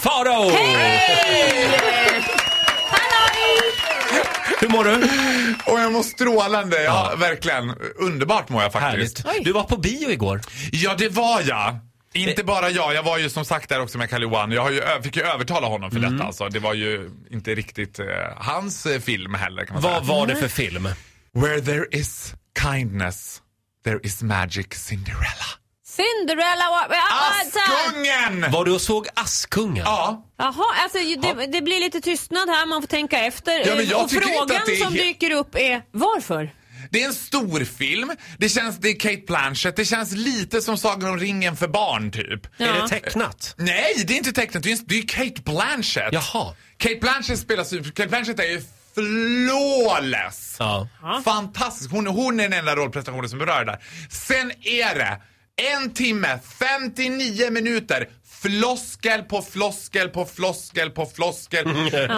Farao! Hur mår du? Och jag mår strålande. Ja, verkligen. Underbart mår jag faktiskt. Härligt. Du var på bio igår. Ja, det var jag. Inte bara jag. Jag var ju som sagt där också med Kalle Johan. Jag har ju, ö- fick ju övertala honom för Mm. detta. Alltså. Det var ju inte riktigt eh, hans eh, film heller kan man Vad säga. var det för film? Where there is kindness, there is magic Cinderella. Cinderella... wa- wa- alltså- Askungen! Var du och såg Askungen? Ja. Jaha, alltså ju- det, det blir lite tystnad här, man får tänka efter. Ja, men jag och tycker inte frågan att det är som he- dyker upp är varför? Det är en stor film. Det känns, det är Kate Blanchett. Det känns lite som Sagan om ringen för barn typ. Är Ja. det tecknat? Nej, det är inte tecknat. Det är en- det är ju Kate Blanchett. Jaha. Kate Blanchett spelas ju... Kate Blanchett är ju flawless. Ja. Fantastisk. Hon, hon är den enda rollprestationen som berör där. Sen är det en timme, 59 minuter floskel på floskel på floskel på floskel.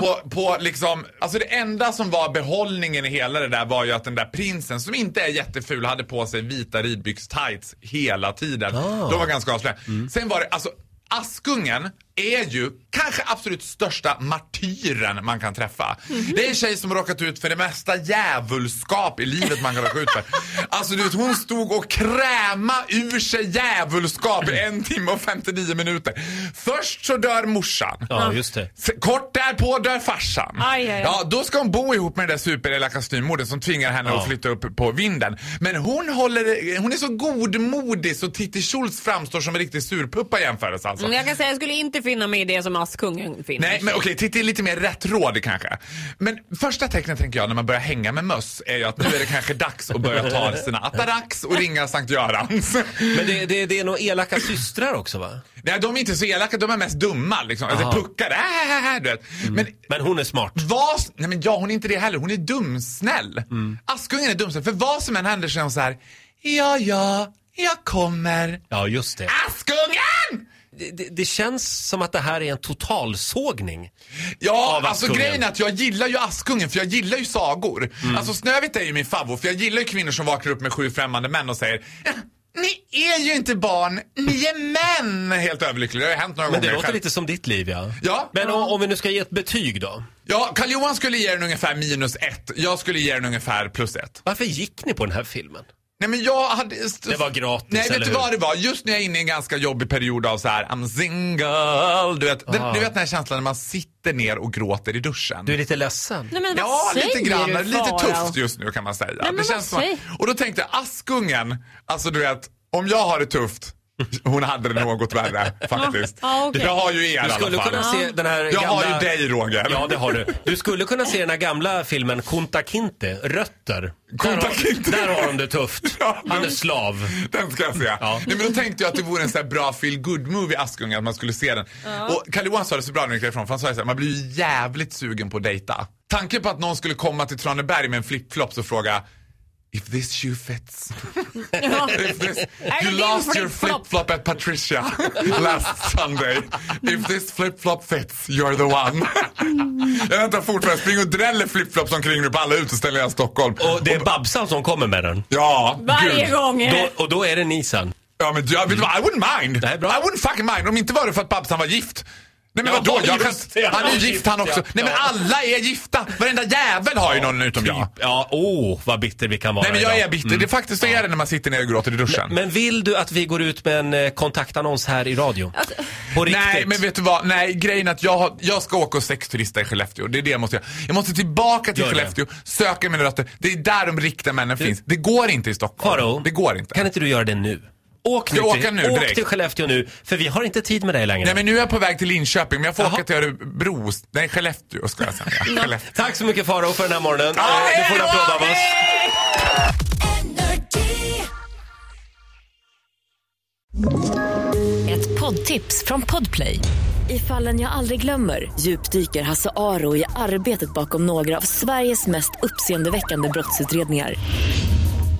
på, på liksom, alltså det enda som var behållningen i hela det där var ju att den där prinsen som inte är jätteful hade på sig vita ridbyx-tights hela tiden. Ah. De var ganska avslöjande. Sen var det, alltså Askungen är ju kanske absolut största martyren man kan träffa. Mhm. Det är en tjej som har råkat ut för det mesta djävulskap i livet man kan råka ut för. Alltså du vet, hon stod och kräma ur sig djävulskap i en timme och 59 minuter. Först så dör morsan. Ja, just det. F- Kort därpå dör farsan. Aj, aj, aj. Ja, då ska hon bo ihop med den där superelaka styvmodern som tvingar henne Ja. att flytta upp på vinden. Men hon, håller, hon är så godmodig så Titti Schultz framstår som en riktig surpuppa i jämförelse alltså. Jag kan säga jag skulle inte finna mig i det som Askungen finner. Nej, men okej, Titti är lite mer rättrådig kanske. Men första tecknet tänker jag när man börjar hänga med möss är ju att nu är det kanske dags att börja ta sina Atarax och ringa Sankt Görans. Men det, det, det är nog elaka systrar också va? Nej, de är inte så elaka, de är mest dumma liksom. Aha. Alltså puckar, äh, äh, äh, du vet. Men Men hon är smart. Vad, nej men ja, hon är inte det heller. Hon är dumsnäll. Askungen är dumsnäll. För vad som än händer så är hon så här. Ja, ja, jag kommer. Ja, just det. Askungen! Det, det, det känns som att det här är en totalsågning. Ja, Av alltså Askungen. Mm. grejen är att jag gillar ju Askungen för jag gillar ju sagor. Alltså Snövit är ju min favvo för jag gillar ju kvinnor som vaknar upp med sju främmande män och säger Ni är ju inte barn, ni är män! Helt överlycklig. Det har ju hänt några Men gånger. det låter själv. lite som ditt liv ja. Ja. Men om, om vi nu ska ge ett betyg då. Ja, Karl-Johan skulle ge den ungefär minus ett. Jag skulle ge den ungefär plus ett. Varför gick ni på den här filmen? Nej men jag hade... Det var gratis, Nej vet eller du hur? vad det var? Just när jag är inne i en ganska jobbig period av så här I'm single. Du vet, den, Ah. du vet den här känslan när man sitter ner och gråter i duschen. Du är lite ledsen. Nej, men vad ja, säger lite grann. Du, lite Farao? tufft just nu kan man säga. men vad som- säger- och då tänkte jag Askungen, alltså du vet, om jag har det tufft, hon hade det något värre faktiskt. Ja, okej. Jag har ju er i Du alla skulle fall. kunna se den här Jag gamla... har ju dig Roger. Ja, det har du. Du skulle kunna se den här gamla filmen Kunta Kinte, Rötter. Kunta där, har, Kinte. där har de det tufft. Ja, Han är men- slav. Den ska jag se. Ja. Nej, men då tänkte jag att det vore en så här bra feel good movie Askungen, att man skulle se den. Och Kalle Johan sa det så bra när vi gick därifrån, för han sa ju så här, man blir ju jävligt sugen på att dejta. Tanken på att någon skulle komma till Traneberg med en flipflops och fråga If this shoe fits. If this, det you din lost your flip-flop? flip-flop at Patricia last Sunday. If this flip-flop fits, you're the one. Mm. jag väntar fortfarande. Spring och dräller flip-flops omkring nu på alla uteställningar i Stockholm. Och det är Babsan som kommer med den. Ja, Varje gud. gång. eh. Då, och då är det ni sen. Ja men jag, vet du vad, I wouldn't mind. Det här är bra. I wouldn't fucking mind om inte var det för att Babsan var gift. Nej men Ja, vadå, jag kan, just det. han är ju Ja, gift han gift, också. ja. Nej men Ja. alla är gifta. Varenda jävel har ju någon utom jag. Typ, Ja, åh, vad bitter vi kan vara Nej men jag idag. är bitter. Det är faktiskt så är det när man sitter ner och gråter i duschen. Men vill du att vi går ut med en eh, kontaktannons här i radio? På riktigt? Nej men vet du vad, nej grejen är att jag, har, jag ska åka och sexturista i Skellefteå. Det är det jag måste göra. Jag måste tillbaka till Gör det. Skellefteå, söka mina rötter. Det är där de riktiga männen finns. Det går inte i Stockholm. Faro, Det går inte. Kan inte du göra det nu? Åk nu, Jag åker till, nu åk direkt. till Skellefteå nu, för vi har inte tid med dig längre. Nej men nu är jag på väg till Linköping men jag får Jaha. åka till Örebro. Nej Skellefteå ska jag säga. Skellefteå. Tack så mycket Faro för den här morgonen. Ja, Eh, du hej får en då, applåd av hej! oss. Ett poddtips från Podplay. I fallen jag aldrig glömmer djupdyker Hasse Aro i arbetet bakom några av Sveriges mest uppseendeväckande brottsutredningar.